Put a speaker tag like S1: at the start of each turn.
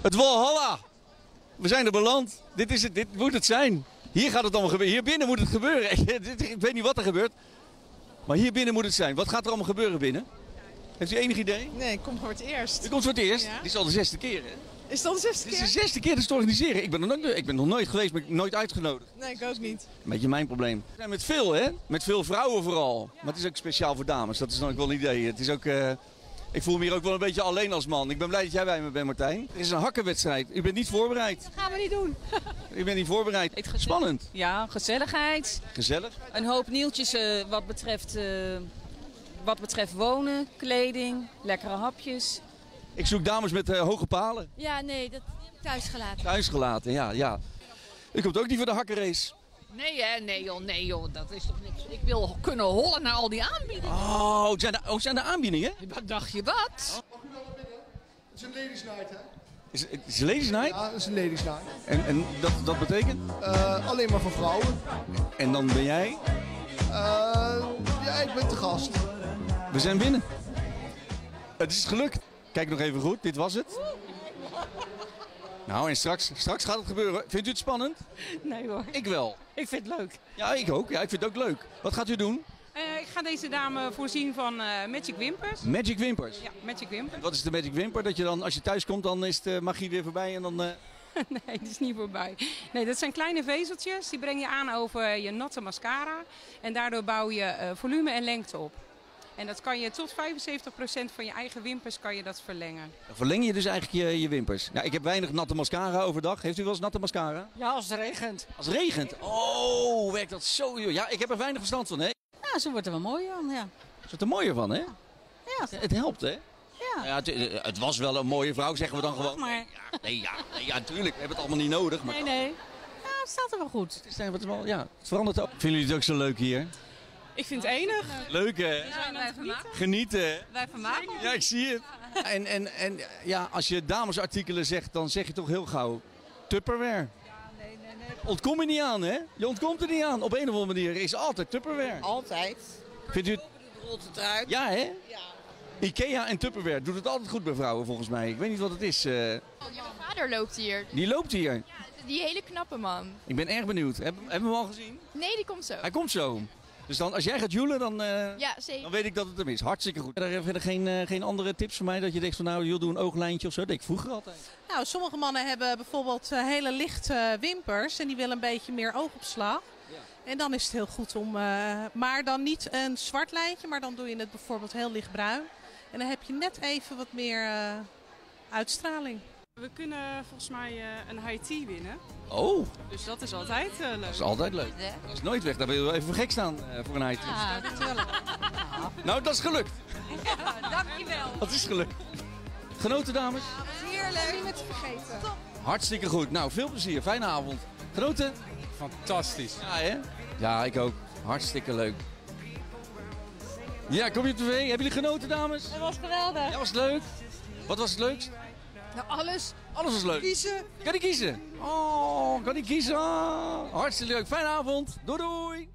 S1: Het Walhalla. We zijn er beland. Dit, is het, dit moet het zijn. Hier gaat het allemaal gebeuren. Hier binnen moet het gebeuren. Ik weet niet wat er gebeurt. Maar hier binnen moet het zijn. Wat gaat er allemaal gebeuren binnen? Heeft u enig idee?
S2: Nee, ik kom voor het eerst.
S1: Dit komt voor het eerst.
S2: Ja.
S1: Dit is al de zesde keer. Hè?
S2: Is dat de zesde
S1: Dit is
S2: keer?
S1: de zesde keer dat ze het organiseren. Ik ben, er nog, ik ben nog nooit geweest, maar ik ben nooit uitgenodigd.
S2: Nee, ik ook niet.
S1: Een beetje mijn probleem. We zijn met veel, hè? Met veel vrouwen vooral. Maar het is ook speciaal voor dames. Dat is dan ook wel een idee. Het is ook, eh, ik voel me hier ook wel een beetje alleen als man. Ik ben blij dat jij bij me bent, Martijn. Er is een hakkenwedstrijd. U bent niet voorbereid.
S3: Gaan we niet doen.
S1: U bent niet voorbereid.
S3: Eet gezellig.
S1: Spannend.
S3: Ja, gezelligheid.
S1: Gezellig.
S3: Een hoop nieuwtjes eh, wat, betreft, eh, wat betreft wonen, kleding, lekkere hapjes.
S1: Ik zoek dames met eh, hoge palen.
S4: Ja, nee, dat die heb ik thuis gelaten.
S1: Thuisgelaten, ja, ja. U komt ook niet voor de hakkenrace.
S5: Nee, hè? Nee, joh, nee, joh. Dat is toch niks. Ik wil kunnen hollen naar al die aanbiedingen.
S1: Oh, het zijn de, oh, het zijn de aanbiedingen?
S5: Wat dacht je wat?
S6: Het is een ladies night, hè?
S1: Is, het is ladies night.
S6: Ja, het is een ladies night.
S1: En, en dat, dat betekent?
S6: Eh, alleen maar voor vrouwen.
S1: En dan ben jij?
S6: Eh, ja, ik ben te gast.
S1: We zijn binnen. Het is gelukt. Kijk nog even goed, dit was het. Nou, en straks, straks gaat het gebeuren. Vindt u het spannend?
S7: Nee hoor,
S1: Ik wel.
S7: ik vind het leuk.
S1: Ja, ik ook. Ja, ik vind het ook leuk. Wat gaat u doen?
S7: Eh, ik ga deze dame voorzien van eh, Magic Wimpers.
S1: Magic Wimpers.
S7: Ja, Magic Wimpers.
S1: Wat is de Magic Wimper? Dat je dan, als je thuis komt, dan is de magie weer voorbij en dan... eh,
S7: Nee, dat is niet voorbij. Nee, dat zijn kleine vezeltjes. Die breng je aan over je natte mascara. En daardoor bouw je eh, volume en lengte op. En dat kan je tot 75% van je eigen wimpers kan je dat verlengen.
S1: Verleng je dus eigenlijk je, je wimpers? Nou, ik heb weinig natte mascara overdag. Heeft u wel eens natte mascara?
S8: Ja, als het regent.
S1: Als het regent. Oh, werkt dat zo... joh. Ja, ik heb er weinig verstand van, hè?
S8: Ja, ze wordt er wel mooi aan, ja.
S1: Dat is er mooier van, hè?
S8: Ja.
S1: Het, het helpt, hè? Ja, het, eh, het was wel een mooie vrouw, zeggen we dan gewoon.
S8: maar.
S1: Nee, Ja, nee, ja, nee, ja, natuurlijk. We hebben het allemaal niet nodig. Maar
S8: Nee, nee. Ja, het staat er wel goed.
S1: Het, is, eh, wat het wel, ja, het verandert ook. Vinden jullie het ook zo leuk hier?
S7: Ik vind het enig.
S1: Leuk, hè? Genieten.
S3: Wij vermaken
S1: Ja, ik zie het. En, en, en ja, als je damesartikelen zegt, dan zeg je toch heel gauw Tupperware. Ontkom je niet aan, hè? Je ontkomt er niet aan. Op een of andere manier is altijd Tupperware.
S9: Altijd.
S1: Vindt u het...
S9: Rolt het eruit.
S1: Ja, hè? Ikea en Tupperware doet het altijd goed bij vrouwen, volgens mij. Ik weet niet wat het is. eh.
S4: Mijn vader loopt hier.
S1: die loopt hier.
S4: Die hele knappe man.
S1: Ik ben erg benieuwd. Heb- Hebben we hem al gezien?
S4: Nee, die komt zo.
S1: Hij komt zo. Dus dan, als jij gaat joelen, dan, eh,
S4: Ja, zeker.
S1: dan weet ik dat het hem is. Hartstikke goed. Verder, verder geen, eh, geen andere tips voor mij dat je denkt van nou, joh, doe een ooglijntje of zo. Dat deed ik vroeger altijd.
S2: Nou, sommige mannen hebben bijvoorbeeld eh, hele lichte wimpers en die willen een beetje meer oogopslag. En dan is het heel goed om, eh, maar dan niet een zwart lijntje, maar dan doe je het bijvoorbeeld heel lichtbruin. En dan heb je net even wat meer eh, uitstraling.
S7: We kunnen volgens mij eh, een high tea winnen.
S1: Oh,
S7: Dus dat is altijd leuk.
S1: dat is altijd leuk. Dat is nooit weg. Daar wil je wel even voor gek staan eh, voor een item. Nou, dat is gelukt. dankjewel. Dat is gelukt. Genoten, dames?
S2: Heerlijk. Niet te vergeten.
S1: Hartstikke goed. Nou, veel plezier. Fijne avond. Genoten?
S10: Fantastisch.
S1: Ja, hè? Ja, ik ook. Hartstikke leuk. Ja, kom je op tv? Hebben jullie genoten, dames?
S8: Dat was geweldig.
S1: Ja, was het leuk? Wat was het leukst?
S9: Nou, alles.
S1: Alles was leuk.
S9: Kiezen.
S1: Kan ik kiezen? Oh, kan ik kiezen? Ah, Hartstikke leuk. Fijne avond. Doei doei.